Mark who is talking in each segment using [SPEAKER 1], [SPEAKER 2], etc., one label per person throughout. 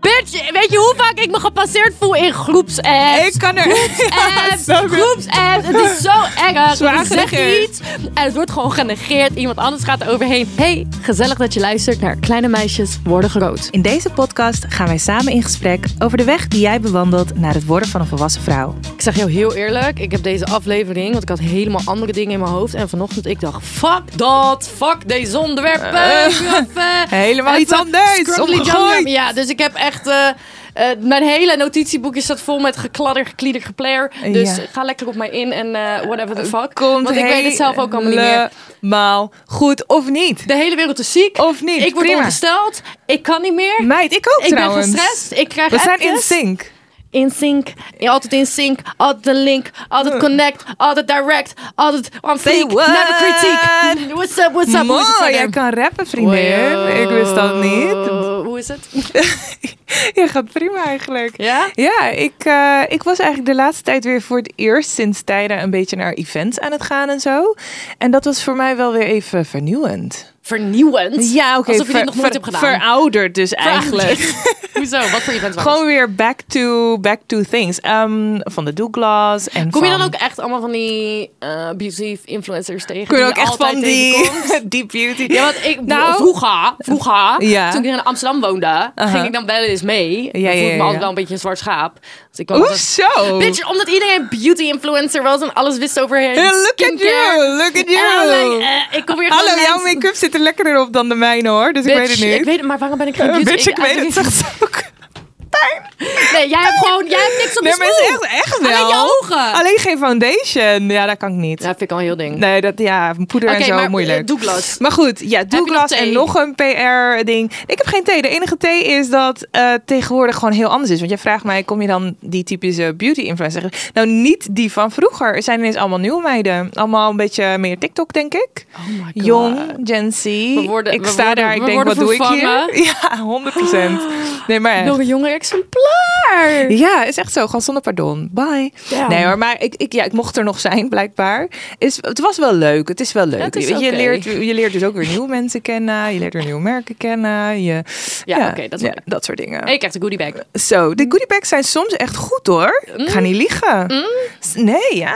[SPEAKER 1] Bitch, weet je hoe vaak ik me gepasseerd voel in groepsapps?
[SPEAKER 2] Ik kan er.
[SPEAKER 1] Apps,
[SPEAKER 2] Zo goed.
[SPEAKER 1] groepsapps, het is zo erg.
[SPEAKER 2] Zwaar
[SPEAKER 1] Ik zeg
[SPEAKER 2] genegeerd.
[SPEAKER 1] iets en het wordt gewoon genegeerd. Iemand anders gaat er overheen. Hey, gezellig dat je luistert naar Kleine Meisjes Worden Groot.
[SPEAKER 3] In deze podcast gaan wij samen in gesprek over de weg die jij bewandelt naar het worden van een volwassen vrouw.
[SPEAKER 1] Ik zeg jou heel eerlijk, ik heb deze aflevering, want ik had helemaal andere dingen in mijn hoofd. En vanochtend ik dacht, fuck dat, fuck deze onderwerpen. Even-
[SPEAKER 2] Helemaal
[SPEAKER 1] even
[SPEAKER 2] iets anders.
[SPEAKER 1] scrubbly
[SPEAKER 2] Omgegooid.
[SPEAKER 1] jam. Ja, dus ik heb echt... eh, eh, mijn hele notitieboekje staat vol met gekladder, geklieder, gepleer. Dus
[SPEAKER 3] Ja.
[SPEAKER 1] ga lekker op mij in en eh, whatever the fuck.
[SPEAKER 2] Komt
[SPEAKER 1] Want ik weet het zelf ook allemaal niet meer.
[SPEAKER 3] Maal goed of niet?
[SPEAKER 1] De hele wereld is ziek.
[SPEAKER 3] Of niet?
[SPEAKER 1] Ik word
[SPEAKER 3] Oh, Prima.
[SPEAKER 1] ongesteld. Ik kan niet meer.
[SPEAKER 3] Meid, ik ook
[SPEAKER 1] ik
[SPEAKER 3] trouwens.
[SPEAKER 1] ben gestrest. Ik krijg
[SPEAKER 3] We zijn in
[SPEAKER 1] appjes.
[SPEAKER 3] sync.
[SPEAKER 1] In sync. Ja, altijd in sync. Altijd een link. Altijd connect. Altijd direct. Altijd on
[SPEAKER 3] Say
[SPEAKER 1] fleek.
[SPEAKER 3] what?
[SPEAKER 1] Never kritiek. What's up, what's up? Hoe is het
[SPEAKER 3] Mooi, jij
[SPEAKER 1] verder?
[SPEAKER 3] kan rappen, vriendin.
[SPEAKER 1] Wow.
[SPEAKER 3] Ik wist dat niet.
[SPEAKER 1] Hoe is het?
[SPEAKER 3] Je gaat prima eigenlijk.
[SPEAKER 1] Ja?
[SPEAKER 3] Ja, ik, eh, ik was eigenlijk de laatste tijd weer voor het eerst sinds tijden een beetje naar events aan het gaan en zo. En dat was voor mij wel weer even vernieuwend.
[SPEAKER 1] Vernieuwend.
[SPEAKER 3] Ja, oké.
[SPEAKER 1] Alsof je dit
[SPEAKER 3] ver-
[SPEAKER 1] nog nooit
[SPEAKER 3] ver-
[SPEAKER 1] hebt gedaan.
[SPEAKER 3] Verouderd dus eigenlijk.
[SPEAKER 1] Hoezo? Wat voor event was het?
[SPEAKER 3] Gewoon weer back to, back to things. Ehm, van de Douglas en
[SPEAKER 1] Kom je
[SPEAKER 3] van-
[SPEAKER 1] dan ook echt allemaal van die eh abusive influencers tegen?
[SPEAKER 3] Kom je ook
[SPEAKER 1] die
[SPEAKER 3] echt
[SPEAKER 1] altijd
[SPEAKER 3] van die,
[SPEAKER 1] tegenkomt?
[SPEAKER 3] die beauty?
[SPEAKER 1] Ja, want ik
[SPEAKER 3] Nou.
[SPEAKER 1] vroeger, vroeger
[SPEAKER 3] Ja.
[SPEAKER 1] toen ik in Amsterdam woonde,
[SPEAKER 3] Uh-huh.
[SPEAKER 1] ging ik dan wel eens mee. Ja,
[SPEAKER 3] ja,
[SPEAKER 1] voelde ik me
[SPEAKER 3] ja,
[SPEAKER 1] altijd
[SPEAKER 3] ja.
[SPEAKER 1] wel een beetje een zwart schaap. Dus ik kwam altijd-
[SPEAKER 3] Hoezo?
[SPEAKER 1] Bitch, omdat iedereen beauty influencer was en alles wist over hen.
[SPEAKER 3] Yeah, look at you, look at
[SPEAKER 1] En
[SPEAKER 3] you.
[SPEAKER 1] dan ben ik, eh, ik kom weer
[SPEAKER 3] Hallo,
[SPEAKER 1] gewoon
[SPEAKER 3] jouw
[SPEAKER 1] langs.
[SPEAKER 3] make-up zit er lekkerder op dan de mijne hoor, dus ik weet het
[SPEAKER 1] Bitch,
[SPEAKER 3] niet.
[SPEAKER 1] Ik weet het, maar waarom ben ik geen
[SPEAKER 3] Eh,
[SPEAKER 1] beauty?
[SPEAKER 3] bitch, ik weet het, zegt ze ook.
[SPEAKER 1] Nee, jij hebt gewoon, jij hebt niks op
[SPEAKER 3] Nee,
[SPEAKER 1] de
[SPEAKER 3] maar het is
[SPEAKER 1] smoel.
[SPEAKER 3] echt, echt wel.
[SPEAKER 1] Alleen je ogen.
[SPEAKER 3] Alleen geen foundation. Ja, dat kan ik niet.
[SPEAKER 1] Ja, vind ik al een heel ding.
[SPEAKER 3] Nee, dat, ja, poeder
[SPEAKER 1] Oké,
[SPEAKER 3] en zo,
[SPEAKER 1] maar, eh,
[SPEAKER 3] moeilijk.
[SPEAKER 1] Douglas.
[SPEAKER 3] Maar goed, ja,
[SPEAKER 1] je nog
[SPEAKER 3] Douglas
[SPEAKER 1] thee?
[SPEAKER 3] en nog een PR-ding. Ik heb geen thee. De enige thee is dat eh, tegenwoordig gewoon heel anders is. Want jij vraagt mij, kom je dan die typische beauty-influencer? Nou, niet die van vroeger. Er zijn ineens allemaal nieuwe meiden. Allemaal een beetje meer TikTok, denk ik.
[SPEAKER 1] Oh my god.
[SPEAKER 3] Jong, Gen Z.
[SPEAKER 1] worden-
[SPEAKER 3] ik
[SPEAKER 1] we
[SPEAKER 3] sta
[SPEAKER 1] worden-
[SPEAKER 3] daar,
[SPEAKER 1] we
[SPEAKER 3] ik denk,
[SPEAKER 1] worden
[SPEAKER 3] wat doe ik
[SPEAKER 1] vervangen.
[SPEAKER 3] hier? Ja, 100 Nee, maar echt.
[SPEAKER 1] Nog een jonger exemplaar.
[SPEAKER 3] Ja, is echt zo. Gewoon zonder pardon. Bye.
[SPEAKER 1] Damn.
[SPEAKER 3] Nee hoor, maar ik, ik, ja, ik mocht er nog zijn, blijkbaar. Is, het was wel leuk. Het is wel leuk.
[SPEAKER 1] Het is
[SPEAKER 3] je, je
[SPEAKER 1] oké.
[SPEAKER 3] leert, je leert dus ook weer nieuwe mensen kennen. Je leert weer nieuwe merken kennen. Je,
[SPEAKER 1] Ja, oké, dat is wel leuk.
[SPEAKER 3] dat soort dingen.
[SPEAKER 1] Hey, ik krijg de goodie bag.
[SPEAKER 3] Zo, de goodie bags zijn soms echt goed hoor. Ik
[SPEAKER 1] Mm.
[SPEAKER 3] Ga niet liegen. S- Nee, ja.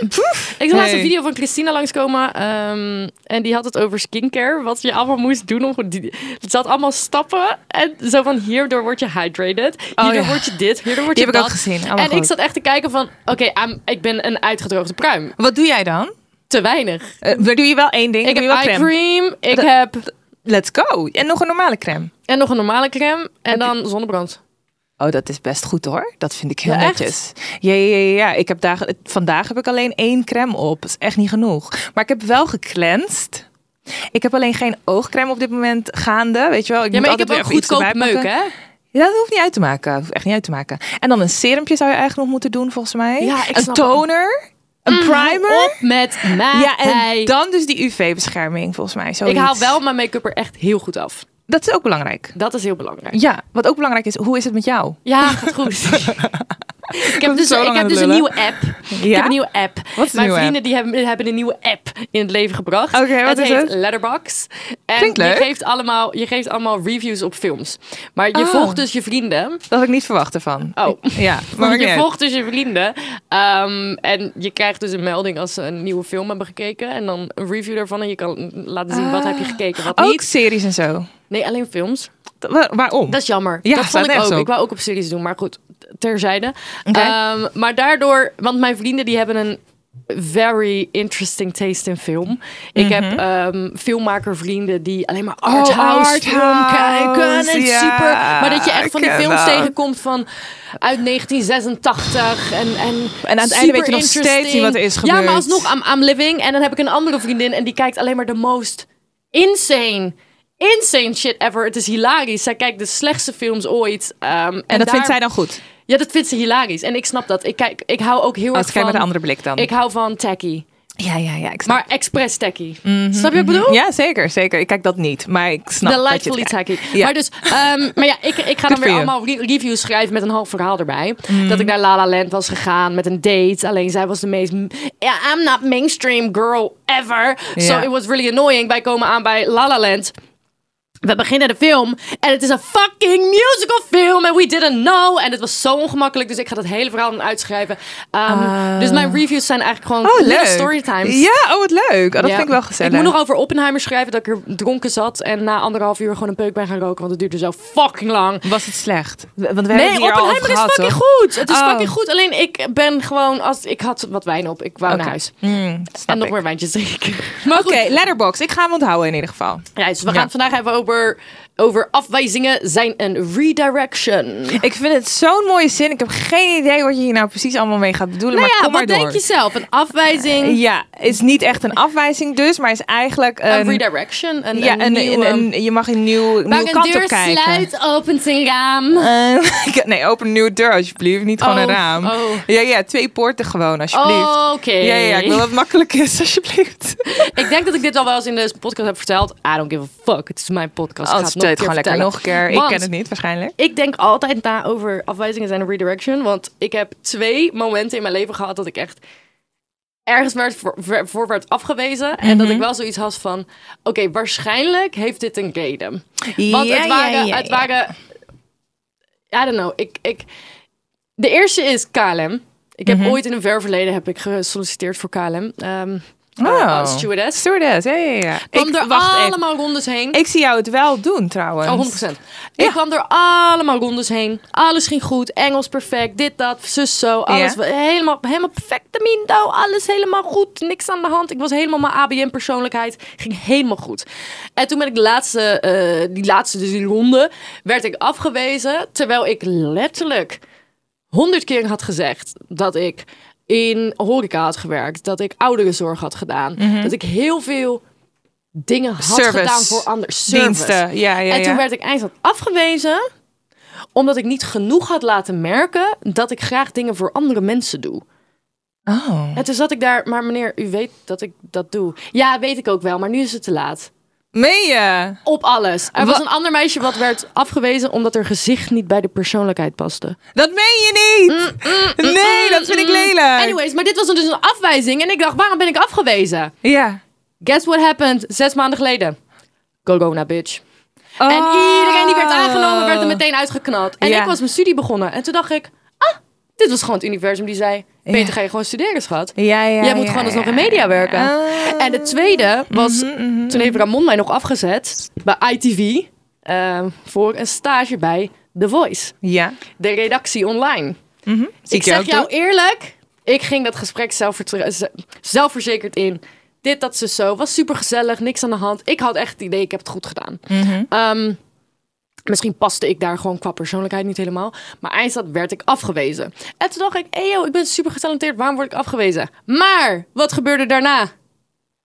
[SPEAKER 3] Poef.
[SPEAKER 1] Ik zag laatst een
[SPEAKER 3] Nee.
[SPEAKER 1] video van Christina langskomen. ehm en die had het over skincare. Wat je allemaal moest doen. Om, goed- die, het zat allemaal stappen. En zo van hierdoor word je hydrated. Hierdoor
[SPEAKER 3] Oh, ja.
[SPEAKER 1] word je dit. Hierdoor word
[SPEAKER 3] Die
[SPEAKER 1] je
[SPEAKER 3] heb ik
[SPEAKER 1] dat.
[SPEAKER 3] ook gezien. Allemaal
[SPEAKER 1] En ik
[SPEAKER 3] goed.
[SPEAKER 1] zat echt te kijken van... Oké, I'm- ik ben een uitgedroogde pruim.
[SPEAKER 3] Wat doe jij dan?
[SPEAKER 1] Te weinig.
[SPEAKER 3] Eh, maar doe je wel één ding?
[SPEAKER 1] Ik
[SPEAKER 3] doe
[SPEAKER 1] heb
[SPEAKER 3] je wel
[SPEAKER 1] eye
[SPEAKER 3] crème?
[SPEAKER 1] cream. Ik
[SPEAKER 3] Dat-
[SPEAKER 1] heb...
[SPEAKER 3] Let's go. En nog een normale crème.
[SPEAKER 1] En nog een normale crème. En dan zonnebrand.
[SPEAKER 3] Oh, dat is best goed hoor. Dat vind ik heel
[SPEAKER 1] Ja, echt?
[SPEAKER 3] netjes. Ja, ja, ja, ja. Ik heb dagen, vandaag heb ik alleen één crème op. Dat is echt niet genoeg. Maar ik heb wel gecleansed. Ik heb alleen geen oogcrème op dit moment gaande. Weet je wel? Ik
[SPEAKER 1] Ja,
[SPEAKER 3] moet
[SPEAKER 1] maar ik heb
[SPEAKER 3] altijd
[SPEAKER 1] ook
[SPEAKER 3] weer even iets
[SPEAKER 1] goedkoop
[SPEAKER 3] erbij
[SPEAKER 1] meuk,
[SPEAKER 3] pakken.
[SPEAKER 1] hè?
[SPEAKER 3] Ja, dat hoeft niet uit te maken. Hoeft echt niet uit te maken. En dan een serumpje zou je eigenlijk nog moeten doen, volgens mij.
[SPEAKER 1] Ja, ik
[SPEAKER 3] een
[SPEAKER 1] snap Mm,
[SPEAKER 3] toner. Een primer.
[SPEAKER 1] Op met mij.
[SPEAKER 3] Ja, en dan dus die UV-bescherming, volgens mij.
[SPEAKER 1] Ik
[SPEAKER 3] Zoiets.
[SPEAKER 1] haal wel mijn make-up er echt heel goed af.
[SPEAKER 3] Dat is ook belangrijk.
[SPEAKER 1] Dat is heel belangrijk.
[SPEAKER 3] Ja, wat ook belangrijk is, hoe is het met jou?
[SPEAKER 1] Ja, gaat goed. ik heb dus,
[SPEAKER 3] zo lang
[SPEAKER 1] ik
[SPEAKER 3] aan
[SPEAKER 1] heb
[SPEAKER 3] het
[SPEAKER 1] dus een
[SPEAKER 3] lullen.
[SPEAKER 1] nieuwe app. Ik heb een nieuwe app.
[SPEAKER 3] Wat is een
[SPEAKER 1] Mijn
[SPEAKER 3] nieuwe
[SPEAKER 1] vrienden Die hebben, hebben een nieuwe app in het leven gebracht.
[SPEAKER 3] Oké, wat
[SPEAKER 1] het
[SPEAKER 3] is
[SPEAKER 1] heet
[SPEAKER 3] het?
[SPEAKER 1] Letterbox. En
[SPEAKER 3] Klinkt leuk.
[SPEAKER 1] Je geeft, allemaal, je geeft allemaal reviews op films. Maar je
[SPEAKER 3] Ah.
[SPEAKER 1] volgt dus je vrienden.
[SPEAKER 3] Dat had ik niet verwacht ervan.
[SPEAKER 1] Oh.
[SPEAKER 3] Ja, maar
[SPEAKER 1] Maar
[SPEAKER 3] oké.
[SPEAKER 1] je volgt dus je vrienden. Ehm, en je krijgt dus een melding als ze een nieuwe film hebben gekeken. En dan een review daarvan. En je kan laten zien wat heb je gekeken, wat
[SPEAKER 3] Ah. Ook
[SPEAKER 1] niet.
[SPEAKER 3] series en zo.
[SPEAKER 1] Nee, alleen films.
[SPEAKER 3] T- waar- waarom?
[SPEAKER 1] Dat is jammer.
[SPEAKER 3] Oh. Ja,
[SPEAKER 1] dat
[SPEAKER 3] staat
[SPEAKER 1] vond ik
[SPEAKER 3] nergens
[SPEAKER 1] ook.
[SPEAKER 3] op.
[SPEAKER 1] Ik wou ook op series doen, maar goed, terzijde.
[SPEAKER 3] Oké.
[SPEAKER 1] Ehm, maar daardoor, want mijn vrienden die hebben een very interesting taste in film. Ik
[SPEAKER 3] Mhm.
[SPEAKER 1] heb ehm, filmmakervrienden die alleen maar arthouse
[SPEAKER 3] Oh, arthouse,
[SPEAKER 1] film kijken. En
[SPEAKER 3] ja,
[SPEAKER 1] super. Maar dat je echt van die
[SPEAKER 3] ik ken
[SPEAKER 1] films
[SPEAKER 3] dat.
[SPEAKER 1] tegenkomt van uit 1986. En, en,
[SPEAKER 3] En aan het einde weet je nog steeds niet
[SPEAKER 1] superinteresting.
[SPEAKER 3] wat er is
[SPEAKER 1] Ja,
[SPEAKER 3] gebeurd.
[SPEAKER 1] maar alsnog, I'm, I'm living. En dan heb ik een andere vriendin en die kijkt alleen maar de most insane. Insane shit ever. Het is hilarisch. Zij kijkt de slechtste films ooit. ehm, en
[SPEAKER 3] en dat
[SPEAKER 1] daar-
[SPEAKER 3] vindt zij dan goed.
[SPEAKER 1] Ja, dat vindt ze hilarisch. En ik snap dat. Ik, kijk, ik hou ook heel
[SPEAKER 3] Als
[SPEAKER 1] erg
[SPEAKER 3] ik
[SPEAKER 1] van...
[SPEAKER 3] kijk met een andere blik dan.
[SPEAKER 1] Ik hou van tacky.
[SPEAKER 3] Ja, ja, ja. Ik snap.
[SPEAKER 1] Maar expres techie. Snap je wat ik bedoel?
[SPEAKER 3] Mhm. ja, zeker, zeker. Ik kijk dat niet, maar ik snap dat je
[SPEAKER 1] Delightfully
[SPEAKER 3] het kijkt.
[SPEAKER 1] tacky.
[SPEAKER 3] Ja.
[SPEAKER 1] Maar, dus, ehm, maar ja, ik, ik ga
[SPEAKER 3] Good
[SPEAKER 1] dan
[SPEAKER 3] for
[SPEAKER 1] weer
[SPEAKER 3] you. Mm.
[SPEAKER 1] allemaal re- reviews schrijven met een half verhaal erbij. Dat ik naar La La Land was gegaan met een date. Alleen zij was de meest... Yeah, I'm not mainstream girl ever. So
[SPEAKER 3] Ja.
[SPEAKER 1] it was really annoying. Wij komen aan bij La La Land. We beginnen de film en het is een fucking musical film and we didn't know. En het was zo ongemakkelijk, dus ik ga dat hele verhaal dan uitschrijven. Ehm, Dus mijn reviews zijn eigenlijk gewoon
[SPEAKER 3] Ah. Oh,
[SPEAKER 1] little
[SPEAKER 3] leuk.
[SPEAKER 1] storytimes.
[SPEAKER 3] Ja, oh, wat leuk. Oh, dat
[SPEAKER 1] Ja.
[SPEAKER 3] vind ik wel gezellig.
[SPEAKER 1] Ik moet nog over Oppenheimer schrijven dat ik er dronken zat en na anderhalf uur gewoon een peuk ben gaan roken, want het duurde zo fucking lang.
[SPEAKER 3] Was het slecht? Want we hebben het
[SPEAKER 1] Nee,
[SPEAKER 3] hier al over
[SPEAKER 1] Oppenheimer is
[SPEAKER 3] gehad,
[SPEAKER 1] fucking
[SPEAKER 3] toch?
[SPEAKER 1] goed. Het is
[SPEAKER 3] Oh.
[SPEAKER 1] fucking goed. Alleen ik ben gewoon als ik had wat wijn op, ik wou
[SPEAKER 3] Oké.
[SPEAKER 1] naar huis
[SPEAKER 3] Mm,
[SPEAKER 1] en
[SPEAKER 3] snap
[SPEAKER 1] nog
[SPEAKER 3] ik.
[SPEAKER 1] meer wijntjes drinken. Maar
[SPEAKER 3] Oké, letterbox. Ik ga hem onthouden in ieder geval.
[SPEAKER 1] Ja, dus we
[SPEAKER 3] Ja.
[SPEAKER 1] gaan het vandaag hebben over, over afwijzingen zijn een redirection.
[SPEAKER 3] Ik vind het zo'n mooie zin. Ik heb geen idee wat je hier nou precies allemaal mee gaat bedoelen.
[SPEAKER 1] Nou
[SPEAKER 3] maar
[SPEAKER 1] ja,
[SPEAKER 3] kom maar
[SPEAKER 1] wat
[SPEAKER 3] door.
[SPEAKER 1] denk je zelf? Een afwijzing,
[SPEAKER 3] Ja, is niet echt een afwijzing dus, maar is eigenlijk
[SPEAKER 1] een
[SPEAKER 3] een...
[SPEAKER 1] redirection, een,
[SPEAKER 3] ja,
[SPEAKER 1] een,
[SPEAKER 3] een,
[SPEAKER 1] nieuwe...
[SPEAKER 3] een- een- je mag een nieuw,
[SPEAKER 1] waar
[SPEAKER 3] nieuwe
[SPEAKER 1] een
[SPEAKER 3] kant
[SPEAKER 1] deur
[SPEAKER 3] op kijken.
[SPEAKER 1] sluit, opent een raam.
[SPEAKER 3] Eh, ik- nee, open een nieuwe deur alsjeblieft. Niet gewoon
[SPEAKER 1] Oh,
[SPEAKER 3] een raam.
[SPEAKER 1] oh.
[SPEAKER 3] Ja, ja, twee poorten gewoon alsjeblieft.
[SPEAKER 1] Oké.
[SPEAKER 3] Ja, ja, ik wil dat het makkelijk is alsjeblieft.
[SPEAKER 1] Ik denk dat ik dit al wel eens in de podcast heb verteld. I don't give a fuck. Het is mijn podcast. Ik ga
[SPEAKER 3] Als
[SPEAKER 1] het
[SPEAKER 3] Oh, het
[SPEAKER 1] nog een
[SPEAKER 3] gewoon
[SPEAKER 1] keer
[SPEAKER 3] lekker
[SPEAKER 1] vertellen.
[SPEAKER 3] nog een keer. Ik
[SPEAKER 1] Want
[SPEAKER 3] ken het niet waarschijnlijk.
[SPEAKER 1] Ik denk altijd na over afwijzingen zijn een redirection. Want ik heb twee momenten in mijn leven gehad dat ik echt ergens werd voor, ver- voor werd afgewezen. En
[SPEAKER 3] Mhm.
[SPEAKER 1] dat ik wel zoiets had van... Oké, waarschijnlijk heeft dit een reden. Want het waren... het waren I don't know. Ik, ik, de eerste is KLM. Ik
[SPEAKER 3] Mhm.
[SPEAKER 1] heb ooit in een ver verleden heb ik gesolliciteerd voor KLM. ehm
[SPEAKER 3] Oh.
[SPEAKER 1] als stewardess.
[SPEAKER 3] Stewardess, ja, ja, ja.
[SPEAKER 1] kwam
[SPEAKER 3] Ik-
[SPEAKER 1] er
[SPEAKER 3] wacht even.
[SPEAKER 1] allemaal rondes heen.
[SPEAKER 3] Ik zie jou het wel doen trouwens.
[SPEAKER 1] Oh, 100%. Ik kwam er allemaal rondes heen. Alles ging goed. Engels perfect. Dit, dat, zus, zo. Alles
[SPEAKER 3] Ja.
[SPEAKER 1] wa- helemaal, helemaal perfect. Mindo. Alles helemaal goed. Niks aan de hand. Ik was helemaal mijn ABM-persoonlijkheid. Ging helemaal goed. En toen ben ik de laatste, eh, die laatste dus die ronde, werd ik afgewezen. Terwijl ik letterlijk honderd keer had gezegd dat ik in horeca had gewerkt. Dat ik ouderenzorg had gedaan. Dat ik heel veel dingen had
[SPEAKER 3] Mhm. Service.
[SPEAKER 1] gedaan voor anderen. Service.
[SPEAKER 3] Diensten, ja, ja,
[SPEAKER 1] En
[SPEAKER 3] ja.
[SPEAKER 1] toen werd ik eindelijk afgewezen omdat ik niet genoeg had laten merken dat ik graag dingen voor andere mensen doe.
[SPEAKER 3] Oh.
[SPEAKER 1] En toen zat ik daar, maar meneer, u weet dat ik dat doe. Ja, weet ik ook wel, maar nu is het te laat.
[SPEAKER 3] Meen je?
[SPEAKER 1] Op alles. Er was
[SPEAKER 3] Wa-
[SPEAKER 1] een ander meisje wat werd afgewezen omdat haar gezicht niet bij de persoonlijkheid paste.
[SPEAKER 3] Dat meen je
[SPEAKER 1] Mm,
[SPEAKER 3] niet! nee, dat vind ik lelijk.
[SPEAKER 1] Anyways, maar dit was dus een afwijzing en ik dacht, waarom ben ik afgewezen?
[SPEAKER 3] Ja.
[SPEAKER 1] Guess what happened zes maanden geleden? Corona, bitch. En
[SPEAKER 3] Oh.
[SPEAKER 1] iedereen die werd aangenomen, werd er meteen uitgeknald. En
[SPEAKER 3] Ja.
[SPEAKER 1] ik was mijn studie begonnen. En toen dacht ik, ah, dit was gewoon het universum die zei... Peter,
[SPEAKER 3] Ja.
[SPEAKER 1] ga je gewoon studeren, schat?
[SPEAKER 3] Ja, ja,
[SPEAKER 1] Jij moet
[SPEAKER 3] ja,
[SPEAKER 1] gewoon alsnog
[SPEAKER 3] ja. Mhm.
[SPEAKER 1] in media werken.
[SPEAKER 3] Ah.
[SPEAKER 1] En de tweede was, toen heeft Ramon mij nog afgezet bij ITV... ehm, voor een stage bij The Voice,
[SPEAKER 3] Ja.
[SPEAKER 1] de redactie online.
[SPEAKER 3] Zie
[SPEAKER 1] Dus ik zeg
[SPEAKER 3] ook doen.
[SPEAKER 1] jou eerlijk, ik ging dat gesprek zelfvertra- z- zelfverzekerd in. Dit, dat, ze zo. Was super gezellig, niks aan de hand. Ik had echt het idee, ik heb het goed gedaan.
[SPEAKER 3] Mhm.
[SPEAKER 1] Ehm, misschien paste ik daar gewoon qua persoonlijkheid niet helemaal. Maar eindelijk werd ik afgewezen. En toen dacht ik, hey yo, ik ben super getalenteerd, waarom word ik afgewezen? Maar, wat gebeurde daarna?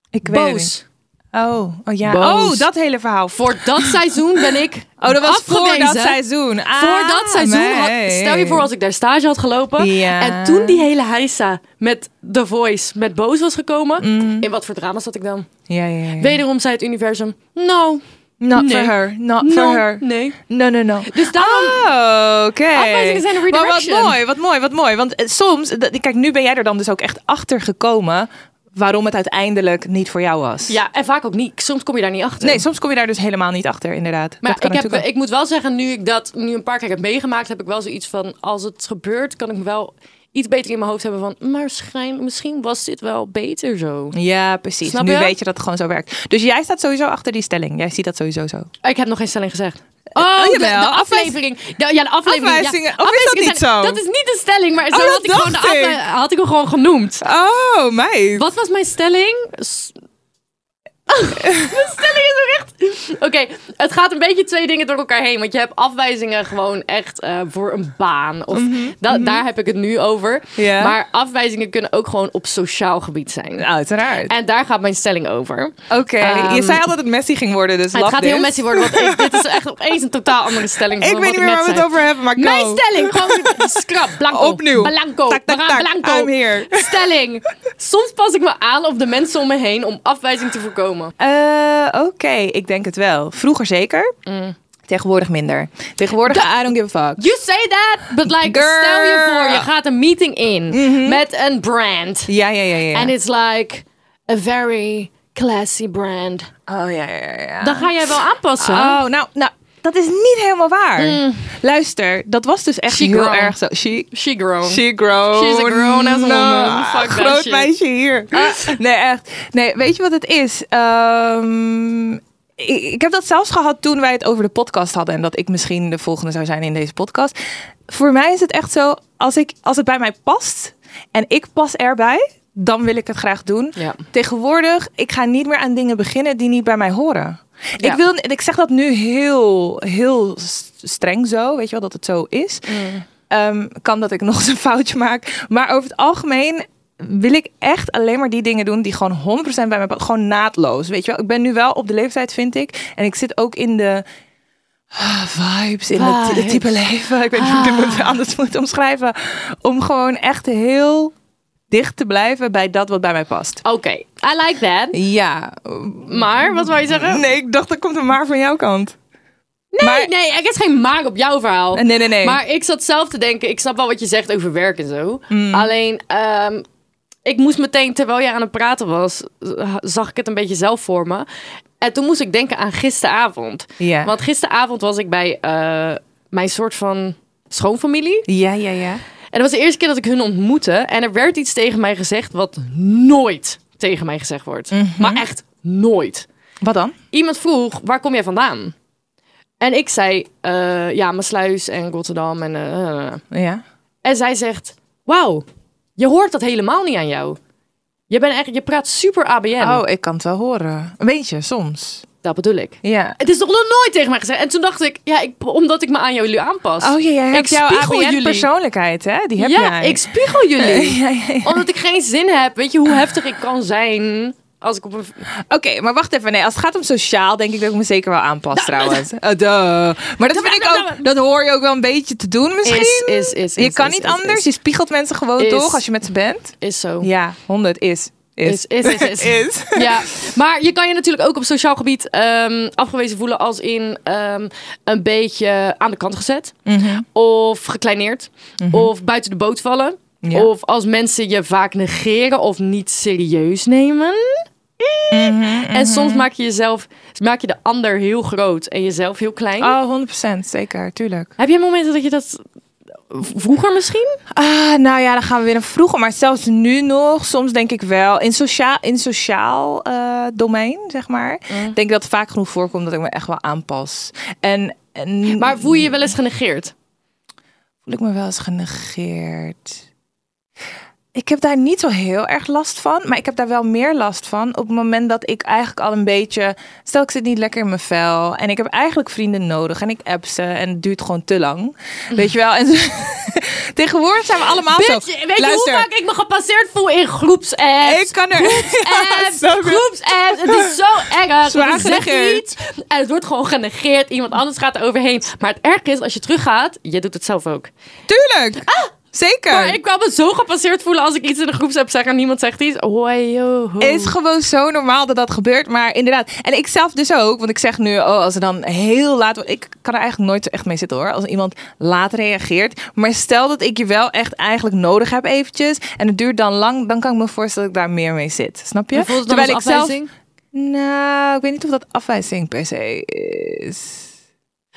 [SPEAKER 3] Ik weet het niet.
[SPEAKER 1] Boos.
[SPEAKER 3] Oh, oh ja.
[SPEAKER 1] Boos.
[SPEAKER 3] Oh, dat hele verhaal.
[SPEAKER 1] Voor dat seizoen ben ik
[SPEAKER 3] oh, dat was voor
[SPEAKER 1] afgewezen.
[SPEAKER 3] dat seizoen. Ah,
[SPEAKER 1] voor dat seizoen had,
[SPEAKER 3] nee.
[SPEAKER 1] stel je voor als ik daar stage had gelopen
[SPEAKER 3] Ja.
[SPEAKER 1] en toen die hele heisa met The Voice met Boos was gekomen, in wat voor drama zat ik dan?
[SPEAKER 3] Ja, ja, Mm. ja.
[SPEAKER 1] Wederom zei het universum, no,
[SPEAKER 3] Not
[SPEAKER 1] Nee.
[SPEAKER 3] for her. Not
[SPEAKER 1] no,
[SPEAKER 3] for her.
[SPEAKER 1] nee.
[SPEAKER 3] No, no, no.
[SPEAKER 1] Dus daarom,
[SPEAKER 3] Oh, oké.
[SPEAKER 1] Afwijzingen zijn een
[SPEAKER 3] Maar wat
[SPEAKER 1] redirection.
[SPEAKER 3] mooi, wat mooi, wat mooi. Want eh, soms, dat- kijk, nu ben jij er dan dus ook echt achter gekomen waarom het uiteindelijk niet voor jou was.
[SPEAKER 1] ja, en vaak ook niet, soms kom je daar niet achter.
[SPEAKER 3] Nee, soms kom je daar dus helemaal niet achter, inderdaad.
[SPEAKER 1] maar
[SPEAKER 3] dat kan
[SPEAKER 1] ik, heb,
[SPEAKER 3] natuurlijk ook.
[SPEAKER 1] ik moet wel zeggen, nu ik dat nu een paar keer heb meegemaakt, heb ik wel zoiets van, als het gebeurt, kan ik me wel iets beter in mijn hoofd hebben van, maar waarschijn- misschien was dit wel beter zo.
[SPEAKER 3] Ja, precies.
[SPEAKER 1] Snap
[SPEAKER 3] nu
[SPEAKER 1] je?
[SPEAKER 3] weet je dat het gewoon zo werkt. Dus jij staat sowieso achter die stelling. Jij ziet dat sowieso zo.
[SPEAKER 1] Ik heb nog geen stelling gezegd. Oh, de,
[SPEAKER 3] jawel.
[SPEAKER 1] de aflevering. De- ja, de aflevering.
[SPEAKER 3] Afwijzingen.
[SPEAKER 1] Ja,
[SPEAKER 3] Of is dat
[SPEAKER 1] afwijzingen
[SPEAKER 3] niet
[SPEAKER 1] zijn-
[SPEAKER 3] zo?
[SPEAKER 1] Dat is niet de stelling, maar zo
[SPEAKER 3] Oh, dat
[SPEAKER 1] had, ik gewoon de
[SPEAKER 3] dacht ik.
[SPEAKER 1] afle- had ik hem gewoon genoemd.
[SPEAKER 3] Oh, meid.
[SPEAKER 1] Wat was mijn stelling? S- De stelling is ook echt... Oké, het gaat een beetje twee dingen door elkaar heen. Want je hebt afwijzingen gewoon echt eh, voor een baan. Of da- Daar heb ik het nu over.
[SPEAKER 3] Mhm, Ja.
[SPEAKER 1] Maar afwijzingen kunnen ook gewoon op sociaal gebied zijn.
[SPEAKER 3] Uiteraard.
[SPEAKER 1] En daar gaat mijn stelling over.
[SPEAKER 3] Oké, je
[SPEAKER 1] Ehm,
[SPEAKER 3] zei al dat het Messi ging worden, dus
[SPEAKER 1] het
[SPEAKER 3] love
[SPEAKER 1] gaat heel
[SPEAKER 3] this.
[SPEAKER 1] messy worden, want ik- dit is echt opeens een totaal andere stelling.
[SPEAKER 3] Ik
[SPEAKER 1] van
[SPEAKER 3] weet
[SPEAKER 1] wat
[SPEAKER 3] niet meer
[SPEAKER 1] net
[SPEAKER 3] waar we het
[SPEAKER 1] zei.
[SPEAKER 3] over hebben, maar go.
[SPEAKER 1] Mijn stelling, gewoon scrap, blanco.
[SPEAKER 3] Opnieuw.
[SPEAKER 1] Blanco,
[SPEAKER 3] Tak, tak,
[SPEAKER 1] we gaan
[SPEAKER 3] tak.
[SPEAKER 1] blanco.
[SPEAKER 3] I'm here.
[SPEAKER 1] Stelling. Soms pas ik me aan op de mensen om me heen om afwijzing te voorkomen.
[SPEAKER 3] Eh, Oké, ik denk het wel. Vroeger zeker.
[SPEAKER 1] Mm.
[SPEAKER 3] Tegenwoordig minder. Tegenwoordig, I don't give a fuck.
[SPEAKER 1] You say that, but like,
[SPEAKER 3] Girl. Mhm.
[SPEAKER 1] stel je voor, je gaat een meeting in met een brand.
[SPEAKER 3] Ja, ja, ja, ja.
[SPEAKER 1] And it's like a very classy brand.
[SPEAKER 3] Oh, ja, ja, ja, ja.
[SPEAKER 1] Dan ga jij wel aanpassen.
[SPEAKER 3] Oh, nou, nou, dat is niet helemaal waar.
[SPEAKER 1] Mm.
[SPEAKER 3] Luister, dat was dus echt
[SPEAKER 1] She
[SPEAKER 3] heel
[SPEAKER 1] grown.
[SPEAKER 3] erg zo. She,
[SPEAKER 1] She grown.
[SPEAKER 3] she grown.
[SPEAKER 1] She's a grown ass woman. Fuck that
[SPEAKER 3] groot
[SPEAKER 1] shit. Ah.
[SPEAKER 3] meisje hier. Nee, echt. Nee, weet je wat het is? Ehm, ik, ik heb dat zelfs gehad toen wij het over de podcast hadden. En dat ik misschien de volgende zou zijn in deze podcast. Voor mij is het echt zo, als, ik, als het bij mij past en ik pas erbij... Dan wil ik het graag doen.
[SPEAKER 1] Ja.
[SPEAKER 3] Tegenwoordig, ik ga niet meer aan dingen beginnen die niet bij mij horen.
[SPEAKER 1] Ja.
[SPEAKER 3] Ik, wil, ik zeg dat nu heel, heel s- streng zo, weet je wel, dat het zo is.
[SPEAKER 1] Mm.
[SPEAKER 3] Ehm, kan dat ik nog eens een foutje maak. Maar over het algemeen wil ik echt alleen maar die dingen doen die gewoon 100% bij mij passen. Gewoon naadloos, weet je wel. Ik ben nu wel op de leeftijd, vind ik. En ik zit ook in de ah, vibes, in het ty-
[SPEAKER 1] Vibes. Ah.
[SPEAKER 3] type leven. Ik weet niet hoe ik het anders moet omschrijven. Om gewoon echt heel dicht te blijven bij dat wat bij mij past.
[SPEAKER 1] Oké, I like that.
[SPEAKER 3] Ja,
[SPEAKER 1] Oh. Maar, wat wou je zeggen?
[SPEAKER 3] nee, ik dacht dat komt een maar van jouw kant.
[SPEAKER 1] Nee,
[SPEAKER 3] Maar-
[SPEAKER 1] nee, er is geen maak op jouw verhaal.
[SPEAKER 3] Nee, nee, nee.
[SPEAKER 1] Maar ik zat zelf te denken, ik snap wel wat je zegt over werk en zo. Alleen, ehm, ik moest meteen, terwijl jij aan het praten was, eh, zag ik het een beetje zelf voor me. En toen moest ik denken aan gisteravond.
[SPEAKER 3] Ja.
[SPEAKER 1] Want gisteravond was ik bij eh, mijn soort van schoonfamilie.
[SPEAKER 3] Ja, ja, ja.
[SPEAKER 1] En dat was de eerste keer dat ik hun ontmoette. En er werd iets tegen mij gezegd wat nooit tegen mij gezegd wordt. Maar echt nooit
[SPEAKER 3] Wat dan?
[SPEAKER 1] iemand vroeg, waar kom jij vandaan? En ik zei, eh, ja, Maasluis en Rotterdam. En, eh, eh, eh.
[SPEAKER 3] Ja.
[SPEAKER 1] en zij zegt, wauw, je hoort dat helemaal niet aan jou. Je, bent echt, je praat super ABN.
[SPEAKER 3] Oh, ik kan het wel horen. Een beetje, soms.
[SPEAKER 1] Dat bedoel ik.
[SPEAKER 3] Ja.
[SPEAKER 1] Het is toch nog nooit tegen mij gezegd. En toen dacht ik, ja, ik, omdat ik me aan jullie aanpas.
[SPEAKER 3] Oh ja, jij hebt
[SPEAKER 1] ik
[SPEAKER 3] jouw
[SPEAKER 1] spiegel jullie.
[SPEAKER 3] ABN-persoonlijkheid, hè? Die heb
[SPEAKER 1] ja,
[SPEAKER 3] jij.
[SPEAKER 1] ik spiegel jullie.
[SPEAKER 3] Ja, ja, ja.
[SPEAKER 1] Omdat ik geen zin heb. Weet je hoe heftig ik kan zijn als ik op een...
[SPEAKER 3] Oké, maar wacht even. Nee, als het gaat om sociaal, denk ik dat ik me zeker wel aanpas, trouwens. Eh, duh. Maar dat vind ik ook... Dat hoor je ook wel een beetje te doen, misschien.
[SPEAKER 1] Is, is, is,
[SPEAKER 3] je
[SPEAKER 1] is,
[SPEAKER 3] kan
[SPEAKER 1] is,
[SPEAKER 3] niet
[SPEAKER 1] is,
[SPEAKER 3] anders.
[SPEAKER 1] is.
[SPEAKER 3] Je spiegelt mensen gewoon,
[SPEAKER 1] Is.
[SPEAKER 3] toch? Als je met ze bent.
[SPEAKER 1] Is zo.
[SPEAKER 3] Ja, 100 is. Is,
[SPEAKER 1] Is, is, is, is. Ja, maar je kan je natuurlijk ook op sociaal gebied ehm, afgewezen voelen als in ehm, een beetje aan de kant gezet.
[SPEAKER 3] Mhm.
[SPEAKER 1] Of gekleineerd. Of buiten de boot vallen.
[SPEAKER 3] Ja.
[SPEAKER 1] Of als mensen je vaak negeren of niet serieus nemen.
[SPEAKER 3] Mhm,
[SPEAKER 1] En soms maak je jezelf, maak je de ander heel groot en jezelf heel klein.
[SPEAKER 3] Oh, 100%. Zeker, tuurlijk.
[SPEAKER 1] Heb jij momenten dat je dat vroeger misschien?
[SPEAKER 3] Ah, nou ja, dan gaan we weer naar vroeger. Maar zelfs nu nog, soms denk ik wel. In sociaal, in sociaal eh, domein, zeg maar. Denk ik dat het vaak genoeg voorkomt dat ik me echt wel aanpas. En, en
[SPEAKER 1] Maar voel je je wel eens genegeerd?
[SPEAKER 3] voel ik me wel eens genegeerd. Ik heb daar niet zo heel erg last van. Maar ik heb daar wel meer last van. Op het moment dat ik eigenlijk al een beetje. Stel, ik zit niet lekker in mijn vel. En ik heb eigenlijk vrienden nodig. En ik app ze. En het duurt gewoon te lang. Weet je wel. En zo- tegenwoordig zijn we allemaal
[SPEAKER 1] Mm. Bitch,
[SPEAKER 3] zo.
[SPEAKER 1] weet je hoe vaak ik me gepasseerd voel in groepsapps?
[SPEAKER 3] Ik kan er.
[SPEAKER 1] apps,
[SPEAKER 3] Ja, zo goed.
[SPEAKER 1] groepsapps. Het is zo erg.
[SPEAKER 3] Zwaar
[SPEAKER 1] Want je zegt
[SPEAKER 3] genegeerd.
[SPEAKER 1] iets En het wordt gewoon genegeerd. Iemand anders gaat er overheen. Maar het erg is, als je teruggaat, je doet het zelf ook.
[SPEAKER 3] Tuurlijk. Zeker.
[SPEAKER 1] Ah, Maar ik kwam me zo gepasseerd voelen als ik iets in de groepsapp zeg en niemand zegt iets. Hoi, yo, ho.
[SPEAKER 3] Het is gewoon zo normaal dat dat gebeurt. Maar inderdaad. En ik zelf dus ook. Want ik zeg nu, oh, als er dan heel laat... wordt- Ik kan er eigenlijk nooit zo echt mee zitten hoor. Als iemand laat reageert. Maar stel dat ik je wel echt eigenlijk nodig heb eventjes. En het duurt dan lang. Dan kan ik me voorstellen dat ik daar meer mee zit. Snap je?
[SPEAKER 1] En voelt het dan als
[SPEAKER 3] ik
[SPEAKER 1] afwijzing?
[SPEAKER 3] Nou, ik weet niet of dat afwijzing per se is.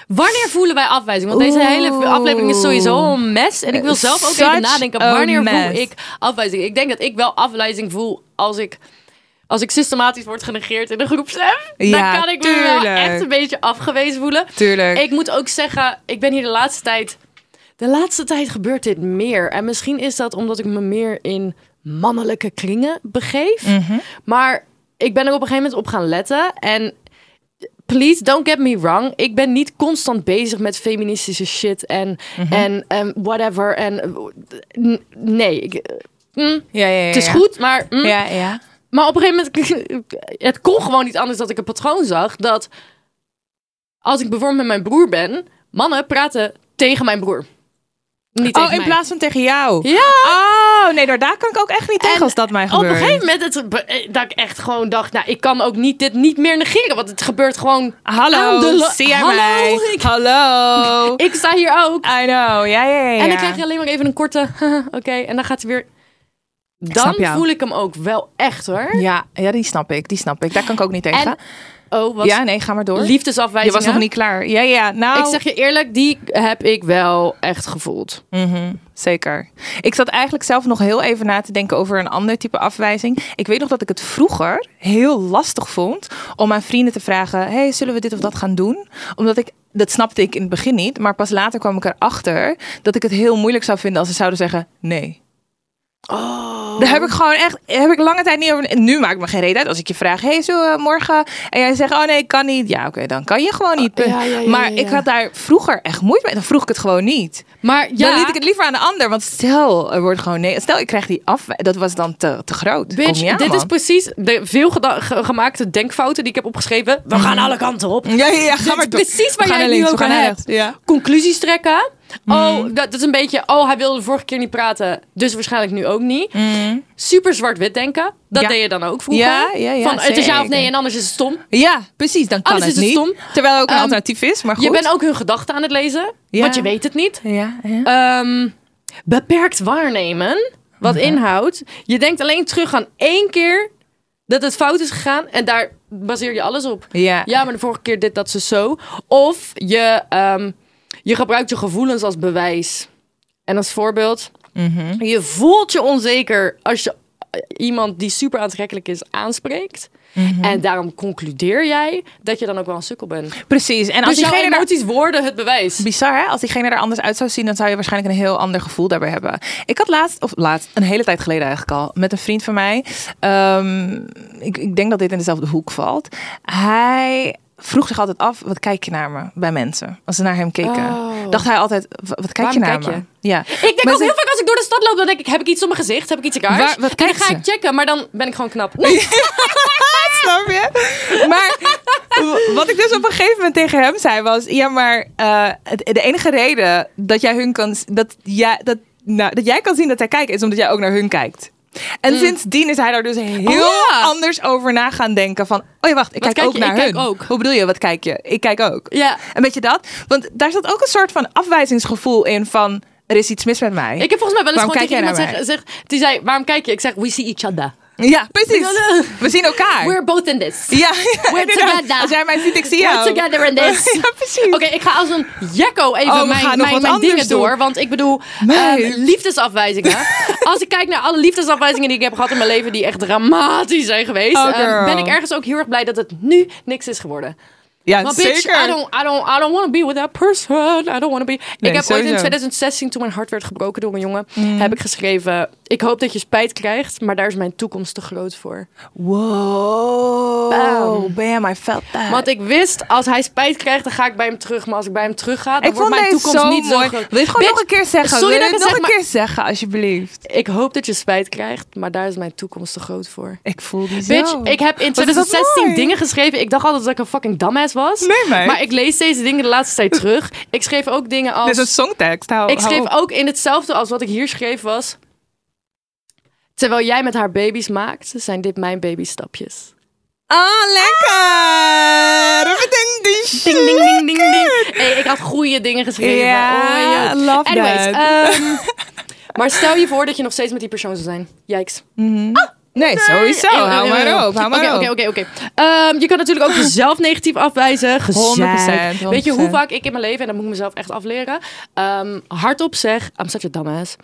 [SPEAKER 1] Wanneer voelen wij afwijzing? Want deze
[SPEAKER 3] Oeh.
[SPEAKER 1] hele aflevering is sowieso een mes. En ik wil zelf ook
[SPEAKER 3] Such
[SPEAKER 1] even nadenken.
[SPEAKER 3] a
[SPEAKER 1] Wanneer voel
[SPEAKER 3] mess.
[SPEAKER 1] ik afwijzing? Ik denk dat ik wel afwijzing voel als ik... Als ik systematisch word genegeerd in een groepsapp,
[SPEAKER 3] Ja,
[SPEAKER 1] dan kan ik me wel
[SPEAKER 3] tuurlijk.
[SPEAKER 1] echt een beetje afgewezen voelen.
[SPEAKER 3] Tuurlijk.
[SPEAKER 1] Ik moet ook zeggen, ik ben hier de laatste tijd. De laatste tijd gebeurt dit meer. En
[SPEAKER 3] Mhm.
[SPEAKER 1] misschien is dat omdat ik me meer in mannelijke kringen begeef. Maar ik ben er op een gegeven moment op gaan letten. En please, don't get me wrong. Ik ben niet constant bezig met feministische shit en,
[SPEAKER 3] Mhm.
[SPEAKER 1] en ehm, whatever. En, eh, n- nee, ik, eh, mm,
[SPEAKER 3] Ja, ja, ja.
[SPEAKER 1] het is goed, maar... mm.
[SPEAKER 3] Ja, ja.
[SPEAKER 1] Maar op een gegeven moment, het kon gewoon niet anders dat ik een patroon zag. Dat als ik bijvoorbeeld met mijn broer ben, mannen praten tegen mijn broer. Niet tegen
[SPEAKER 3] Oh, in
[SPEAKER 1] mij.
[SPEAKER 3] plaats van tegen jou.
[SPEAKER 1] Ja.
[SPEAKER 3] Oh, nee, daar, daar kan ik ook echt niet tegen
[SPEAKER 1] En
[SPEAKER 3] als dat mij
[SPEAKER 1] Op
[SPEAKER 3] gebeurt.
[SPEAKER 1] een gegeven moment het, be- eh, dat ik echt gewoon dacht, nou, ik kan ook niet, dit niet meer negeren. Want het gebeurt gewoon aan de
[SPEAKER 3] Hallo,
[SPEAKER 1] lo-
[SPEAKER 3] zie jij
[SPEAKER 1] Hallo,
[SPEAKER 3] mij?
[SPEAKER 1] Ik,
[SPEAKER 3] Hallo.
[SPEAKER 1] ik sta hier ook.
[SPEAKER 3] I know, ja, ja, ja. Ah, ja.
[SPEAKER 1] En dan krijg je alleen maar even een korte, oké, en dan gaat hij weer... Dan
[SPEAKER 3] snap jou.
[SPEAKER 1] voel ik hem ook wel echt hoor.
[SPEAKER 3] Ja, ja, die snap ik, die snap ik. Daar kan ik ook niet tegen.
[SPEAKER 1] En, oh, wat
[SPEAKER 3] ja, nee, ga maar door.
[SPEAKER 1] liefdesafwijzingen.
[SPEAKER 3] Je was nog niet klaar. Ja, ja, nou.
[SPEAKER 1] Ik zeg je eerlijk, die heb ik wel echt gevoeld.
[SPEAKER 3] Mhm, zeker. Ik zat eigenlijk zelf nog heel even na te denken over een ander type afwijzing. Ik weet nog dat ik het vroeger heel lastig vond om aan vrienden te vragen: hey, zullen we dit of dat gaan doen? Omdat ik. Dat snapte ik in het begin niet, maar pas later kwam ik erachter dat ik het heel moeilijk zou vinden als ze zouden zeggen nee.
[SPEAKER 1] Oh.
[SPEAKER 3] Daar heb ik gewoon echt heb ik lange tijd niet over. en Nu maakt me geen reden uit als ik je vraag: hey, zullen we morgen? En jij zegt: oh nee, ik kan niet. Ja, oké, dan kan je gewoon niet.
[SPEAKER 1] Oh,
[SPEAKER 3] punt.
[SPEAKER 1] ja, ja, ja,
[SPEAKER 3] maar
[SPEAKER 1] ja, ja.
[SPEAKER 3] ik had daar vroeger echt moeite mee. Dan vroeg ik het gewoon niet.
[SPEAKER 1] Maar
[SPEAKER 3] Dan
[SPEAKER 1] ja,
[SPEAKER 3] liet ik het liever aan de ander. Want stel, er wordt gewoon nee. Stel, ik krijg die af. Dat was dan te, te groot. Kom
[SPEAKER 1] bitch,
[SPEAKER 3] niet aan,
[SPEAKER 1] dit is
[SPEAKER 3] man.
[SPEAKER 1] precies de veel geda- ge- gemaakte denkfouten die ik heb opgeschreven. We gaan alle kanten op.
[SPEAKER 3] Ja, ja, ja, ga
[SPEAKER 1] Dit
[SPEAKER 3] maar
[SPEAKER 1] is
[SPEAKER 3] door.
[SPEAKER 1] precies waar
[SPEAKER 3] We gaan
[SPEAKER 1] jij het nu
[SPEAKER 3] naar links, we
[SPEAKER 1] over
[SPEAKER 3] gaan naar Mm.
[SPEAKER 1] hebt.
[SPEAKER 3] rechts. Ja.
[SPEAKER 1] Conclusies trekken. Oh, dat, dat is een beetje. Oh, hij wilde de vorige keer niet praten, dus waarschijnlijk nu ook niet. Super zwart-wit denken. Dat
[SPEAKER 3] Mm. Ja.
[SPEAKER 1] deed je dan ook vroeger.
[SPEAKER 3] Ja, ja, ja,
[SPEAKER 1] Van het is ja of
[SPEAKER 3] zeker.
[SPEAKER 1] nee en anders is het stom.
[SPEAKER 3] Ja, precies. Dan kan
[SPEAKER 1] Alles
[SPEAKER 3] het
[SPEAKER 1] is het
[SPEAKER 3] niet.
[SPEAKER 1] stom.
[SPEAKER 3] Terwijl er ook een
[SPEAKER 1] Ehm,
[SPEAKER 3] alternatief is. Maar goed.
[SPEAKER 1] Je bent ook hun gedachten aan het lezen,
[SPEAKER 3] Ja.
[SPEAKER 1] want je weet het niet.
[SPEAKER 3] Ja, ja.
[SPEAKER 1] Ehm, beperkt waarnemen. Wat inhoudt. Je denkt alleen terug aan één keer dat het fout is gegaan. En daar baseer je alles op.
[SPEAKER 3] ja.
[SPEAKER 1] Ja, maar de vorige keer dit, dat, ze zo. Of je, ehm, je gebruikt je gevoelens als bewijs. En als voorbeeld.
[SPEAKER 3] Mhm.
[SPEAKER 1] Je voelt je onzeker als je eh, iemand die super aantrekkelijk is aanspreekt.
[SPEAKER 3] Mhm.
[SPEAKER 1] En daarom concludeer jij dat je dan ook wel een sukkel bent.
[SPEAKER 3] Precies. En als
[SPEAKER 1] dus jouw
[SPEAKER 3] Nou, diegene daar
[SPEAKER 1] emoties worden het bewijs.
[SPEAKER 3] Bizar, hè? Als diegene er anders uit zou zien, dan zou je waarschijnlijk een heel ander gevoel daarbij hebben. Ik had laatst, of laatst, een hele tijd geleden eigenlijk al, met een vriend van mij. ehm, ik, ik denk dat dit in dezelfde hoek valt. Hij vroeg zich altijd af, wat kijk je naar me bij mensen? Als ze naar hem keken.
[SPEAKER 1] Oh.
[SPEAKER 3] Dacht hij altijd, "Wa- wat kijk je naar
[SPEAKER 1] Waarom kijk
[SPEAKER 3] me? Ja.
[SPEAKER 1] Ik denk
[SPEAKER 3] Maar
[SPEAKER 1] ook
[SPEAKER 3] ze-
[SPEAKER 1] heel vaak als ik door de stad loop, dan denk ik, heb ik iets op mijn gezicht? Heb ik iets in kaars?
[SPEAKER 3] Waar- wat
[SPEAKER 1] en dan
[SPEAKER 3] kijkt
[SPEAKER 1] ga
[SPEAKER 3] ze?
[SPEAKER 1] ik checken, maar dan ben ik gewoon knap. Nee,
[SPEAKER 3] Snap je? Maar w- wat ik dus op een gegeven moment tegen hem zei was: Ja, maar eh, het- de enige reden dat jij hun kan. z- Dat jij, dat, nou, dat jij kan zien dat hij kijkt, is omdat jij ook naar hun kijkt. En sindsdien is hij daar dus heel
[SPEAKER 1] Hmm. Oh, ja.
[SPEAKER 3] anders over na gaan denken. Van, oh ja, wacht, ik
[SPEAKER 1] Wat
[SPEAKER 3] kijk,
[SPEAKER 1] kijk
[SPEAKER 3] ook
[SPEAKER 1] je?
[SPEAKER 3] naar
[SPEAKER 1] Ik
[SPEAKER 3] hun.
[SPEAKER 1] kijk ook.
[SPEAKER 3] Hoe bedoel je, wat kijk je? Ik kijk ook.
[SPEAKER 1] Ja.
[SPEAKER 3] Een beetje dat. Want daar zat ook een soort van afwijzingsgevoel in van... Er is iets mis met mij.
[SPEAKER 1] Ik heb volgens mij wel eens
[SPEAKER 3] Waarom
[SPEAKER 1] gewoon
[SPEAKER 3] kijk
[SPEAKER 1] tegen
[SPEAKER 3] jij
[SPEAKER 1] iemand
[SPEAKER 3] naar
[SPEAKER 1] zeggen, zeg, die zei, waarom kijk je? Ik zeg, we see each other.
[SPEAKER 3] Ja, precies. We zien elkaar.
[SPEAKER 1] We're both in this.
[SPEAKER 3] Ja,
[SPEAKER 1] We're
[SPEAKER 3] inderdaad.
[SPEAKER 1] together.
[SPEAKER 3] Als jij mij ziet, ik zie jou.
[SPEAKER 1] We're together in this.
[SPEAKER 3] Ja, precies.
[SPEAKER 1] Oké, ik ga als een jekko even
[SPEAKER 3] Oh, we gaan
[SPEAKER 1] mijn, mijn,
[SPEAKER 3] nog wat
[SPEAKER 1] mijn
[SPEAKER 3] anders
[SPEAKER 1] dingen
[SPEAKER 3] doen.
[SPEAKER 1] door. Want ik bedoel,
[SPEAKER 3] Meid.
[SPEAKER 1] ehm, liefdesafwijzingen. Als ik kijk naar alle liefdesafwijzingen die ik heb gehad in mijn leven, die echt dramatisch zijn geweest,
[SPEAKER 3] Oh,
[SPEAKER 1] ehm,
[SPEAKER 3] girl.
[SPEAKER 1] ben ik ergens ook heel erg blij dat het nu niks is geworden.
[SPEAKER 3] Ja,
[SPEAKER 1] Maar bitch,
[SPEAKER 3] zeker.
[SPEAKER 1] I don't, I don't, I don't want to be with that person. I don't want to be.
[SPEAKER 3] Nee,
[SPEAKER 1] ik heb ooit
[SPEAKER 3] sowieso. Mm.
[SPEAKER 1] in 2016, toen mijn hart werd gebroken door een jongen, heb ik geschreven: Ik hoop dat je spijt krijgt, maar daar is mijn toekomst te groot voor.
[SPEAKER 3] Wow.
[SPEAKER 1] Bam.
[SPEAKER 3] Bam, I felt that.
[SPEAKER 1] Want ik wist, als hij spijt krijgt, dan ga ik bij hem terug. Maar als ik bij hem terug ga, dan
[SPEAKER 3] ik
[SPEAKER 1] wordt
[SPEAKER 3] vond
[SPEAKER 1] mijn
[SPEAKER 3] deze
[SPEAKER 1] toekomst
[SPEAKER 3] zo
[SPEAKER 1] niet
[SPEAKER 3] mooi.
[SPEAKER 1] zo groot.
[SPEAKER 3] Wil je het gewoon
[SPEAKER 1] Bitch,
[SPEAKER 3] nog een keer zeggen?
[SPEAKER 1] sorry
[SPEAKER 3] Wil
[SPEAKER 1] dat
[SPEAKER 3] je
[SPEAKER 1] ik
[SPEAKER 3] het
[SPEAKER 1] het
[SPEAKER 3] nog een
[SPEAKER 1] zeg,
[SPEAKER 3] keer zeggen, alsjeblieft?
[SPEAKER 1] Ik hoop dat je spijt krijgt, maar daar is mijn toekomst te groot voor.
[SPEAKER 3] Ik voel die zo.
[SPEAKER 1] Bitch, ik heb in
[SPEAKER 3] Wat is dat
[SPEAKER 1] 2016
[SPEAKER 3] mooi.
[SPEAKER 1] dingen geschreven. Ik dacht altijd dat ik een fucking dumbass was.
[SPEAKER 3] Nee, meid.
[SPEAKER 1] maar ik lees deze dingen de laatste tijd terug. Ik schreef ook dingen als...
[SPEAKER 3] Dit is een songtekst. Hou,
[SPEAKER 1] Ik
[SPEAKER 3] hou
[SPEAKER 1] schreef
[SPEAKER 3] op.
[SPEAKER 1] ook in hetzelfde als wat ik hier schreef was. Terwijl jij met haar baby's maakt, zijn dit mijn babystapjes.
[SPEAKER 3] Ah, lekker. Ding, ding,
[SPEAKER 1] Ah. Ding, ding, ding, ding, ding. Hey, ik had goede dingen geschreven.
[SPEAKER 3] Ja,
[SPEAKER 1] oh, ja.
[SPEAKER 3] love
[SPEAKER 1] Anyways,
[SPEAKER 3] that.
[SPEAKER 1] ehm, maar stel je voor dat je nog steeds met die persoon zou zijn. Yikes.
[SPEAKER 3] Nee, sowieso.
[SPEAKER 1] Eeuw, eeuw,
[SPEAKER 3] Hou
[SPEAKER 1] eeuw,
[SPEAKER 3] maar
[SPEAKER 1] eeuw.
[SPEAKER 3] op. Hou
[SPEAKER 1] Oké,
[SPEAKER 3] maar op.
[SPEAKER 1] oké, oké, oké. Ehm, Je kan natuurlijk ook jezelf negatief afwijzen. Gezeik.
[SPEAKER 3] 100%,
[SPEAKER 1] Weet je
[SPEAKER 3] 100%.
[SPEAKER 1] hoe vaak ik in mijn leven, en dat moet ik mezelf echt afleren, ehm, hardop zeg, I'm such a dumbass.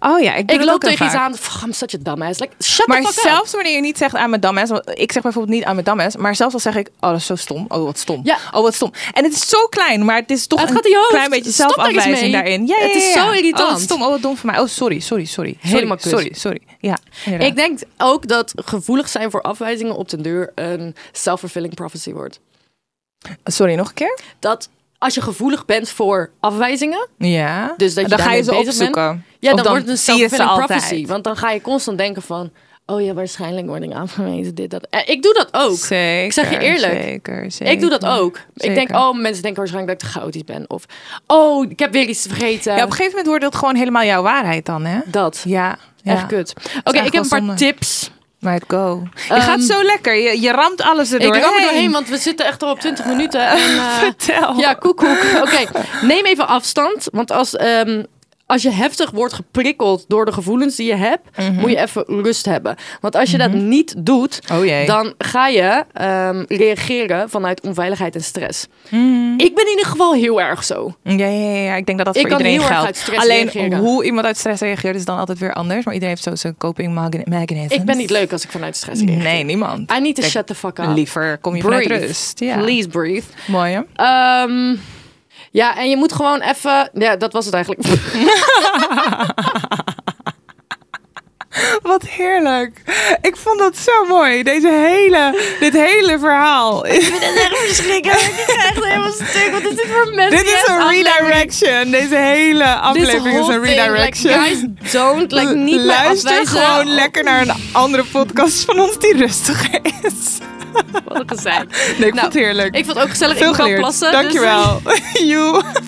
[SPEAKER 3] Oh ja, ik, doe
[SPEAKER 1] Ik
[SPEAKER 3] dat
[SPEAKER 1] loop
[SPEAKER 3] ook heel
[SPEAKER 1] tegen iets
[SPEAKER 3] vaak.
[SPEAKER 1] aan. Fuck, I'm such a dumbass. Like, shut the
[SPEAKER 3] Maar
[SPEAKER 1] fuck up.
[SPEAKER 3] zelfs wanneer je niet zegt aan mijn dames, want ik zeg bijvoorbeeld niet aan mijn dames, maar zelfs al zeg ik, oh dat is zo stom, oh wat stom,
[SPEAKER 1] Ja.
[SPEAKER 3] oh wat stom. En het is zo klein, maar het is toch
[SPEAKER 1] Het
[SPEAKER 3] een
[SPEAKER 1] gaat in je hoofd.
[SPEAKER 3] klein beetje
[SPEAKER 1] Stop daar eens
[SPEAKER 3] zelfafwijzing
[SPEAKER 1] mee.
[SPEAKER 3] daarin. Ja, ja,
[SPEAKER 1] Het is
[SPEAKER 3] ja, ja.
[SPEAKER 1] zo irritant.
[SPEAKER 3] Oh wat stom, oh wat dom van mij. Oh sorry, sorry, sorry. Sorry,
[SPEAKER 1] Helemaal kut.
[SPEAKER 3] Sorry, sorry. Ja, inderdaad.
[SPEAKER 1] Ik denk ook dat gevoelig zijn voor afwijzingen op den duur een self-fulfilling prophecy wordt.
[SPEAKER 3] sorry, nog een keer?
[SPEAKER 1] Dat als je gevoelig bent voor afwijzingen,
[SPEAKER 3] Ja.
[SPEAKER 1] Dus dat je
[SPEAKER 3] dan ga je
[SPEAKER 1] daarmee
[SPEAKER 3] ze
[SPEAKER 1] bezig bent.
[SPEAKER 3] opzoeken.
[SPEAKER 1] ja,
[SPEAKER 3] Of
[SPEAKER 1] dan, wordt het een
[SPEAKER 3] zie je ze
[SPEAKER 1] self-fulfilling
[SPEAKER 3] altijd.
[SPEAKER 1] prophecy. Want dan ga je constant denken van, oh ja, waarschijnlijk word ik afgewezen, dit, dat. Eh, ik doe dat ook.
[SPEAKER 3] Zeker,
[SPEAKER 1] Ik zeg je eerlijk.
[SPEAKER 3] Zeker, zeker.
[SPEAKER 1] Ik doe dat ook. Ik denk,
[SPEAKER 3] Zeker.
[SPEAKER 1] oh, mensen denken waarschijnlijk dat ik te chaotisch ben. Of, oh, ik heb weer iets vergeten.
[SPEAKER 3] Ja, op een gegeven moment wordt dat gewoon helemaal jouw waarheid dan, hè?
[SPEAKER 1] dat.
[SPEAKER 3] Ja. ja.
[SPEAKER 1] Echt kut. Oké, ik heb
[SPEAKER 3] eigenlijk
[SPEAKER 1] een
[SPEAKER 3] wel
[SPEAKER 1] paar
[SPEAKER 3] zonde.
[SPEAKER 1] tips.
[SPEAKER 3] Maar go. Je
[SPEAKER 1] Ehm,
[SPEAKER 3] gaat zo lekker. Je, je ramt alles erdoor.
[SPEAKER 1] Ik ram er doorheen, want we zitten echt al op 20 minuten. En, eh,
[SPEAKER 3] Vertel.
[SPEAKER 1] Ja, koekoek. Oké, neem even afstand. Want als, ehm, als je heftig wordt geprikkeld door de gevoelens die je hebt, moet je even rust hebben. Want als je dat niet doet,
[SPEAKER 3] Oh jee.
[SPEAKER 1] dan ga je ehm, reageren vanuit onveiligheid en stress. Ik ben in ieder geval heel erg zo.
[SPEAKER 3] Ja, ja, ja, ja. Ik denk dat dat
[SPEAKER 1] Ik
[SPEAKER 3] voor
[SPEAKER 1] kan
[SPEAKER 3] iedereen
[SPEAKER 1] heel erg
[SPEAKER 3] geldt.
[SPEAKER 1] uit stress
[SPEAKER 3] Alleen
[SPEAKER 1] reageren.
[SPEAKER 3] hoe iemand uit stress reageert is dan altijd weer anders. Maar iedereen heeft zo zijn coping megan- mechanisms.
[SPEAKER 1] Ik ben niet leuk als ik vanuit stress reageer.
[SPEAKER 3] Nee, niemand.
[SPEAKER 1] I need to
[SPEAKER 3] Kijk,
[SPEAKER 1] shut the fuck up.
[SPEAKER 3] Liever kom je vanuit
[SPEAKER 1] breathe.
[SPEAKER 3] rust. Ja.
[SPEAKER 1] Please breathe.
[SPEAKER 3] Mooi, hè?
[SPEAKER 1] Ehm, ja, en je moet gewoon even... Ja, dat was het eigenlijk.
[SPEAKER 3] Wat heerlijk. Ik vond dat zo mooi. Deze hele, dit hele verhaal.
[SPEAKER 1] verschrikkelijk. Ik ga echt helemaal stuk. Wat is dit voor mensen?
[SPEAKER 3] Dit is een redirection. Deze hele aflevering is een redirection.
[SPEAKER 1] guys, don't. Like, niet mij
[SPEAKER 3] Luister
[SPEAKER 1] afwijzen.
[SPEAKER 3] gewoon
[SPEAKER 1] Oh,
[SPEAKER 3] lekker naar een andere podcast van ons die rustig is.
[SPEAKER 1] Wat een gezeik.
[SPEAKER 3] Nee, ik
[SPEAKER 1] Nou,
[SPEAKER 3] vond het heerlijk.
[SPEAKER 1] Ik vond het ook gezellig.
[SPEAKER 3] Veel
[SPEAKER 1] ik moet wel
[SPEAKER 3] geleerd.
[SPEAKER 1] plassen. dus-
[SPEAKER 3] Dankjewel. you.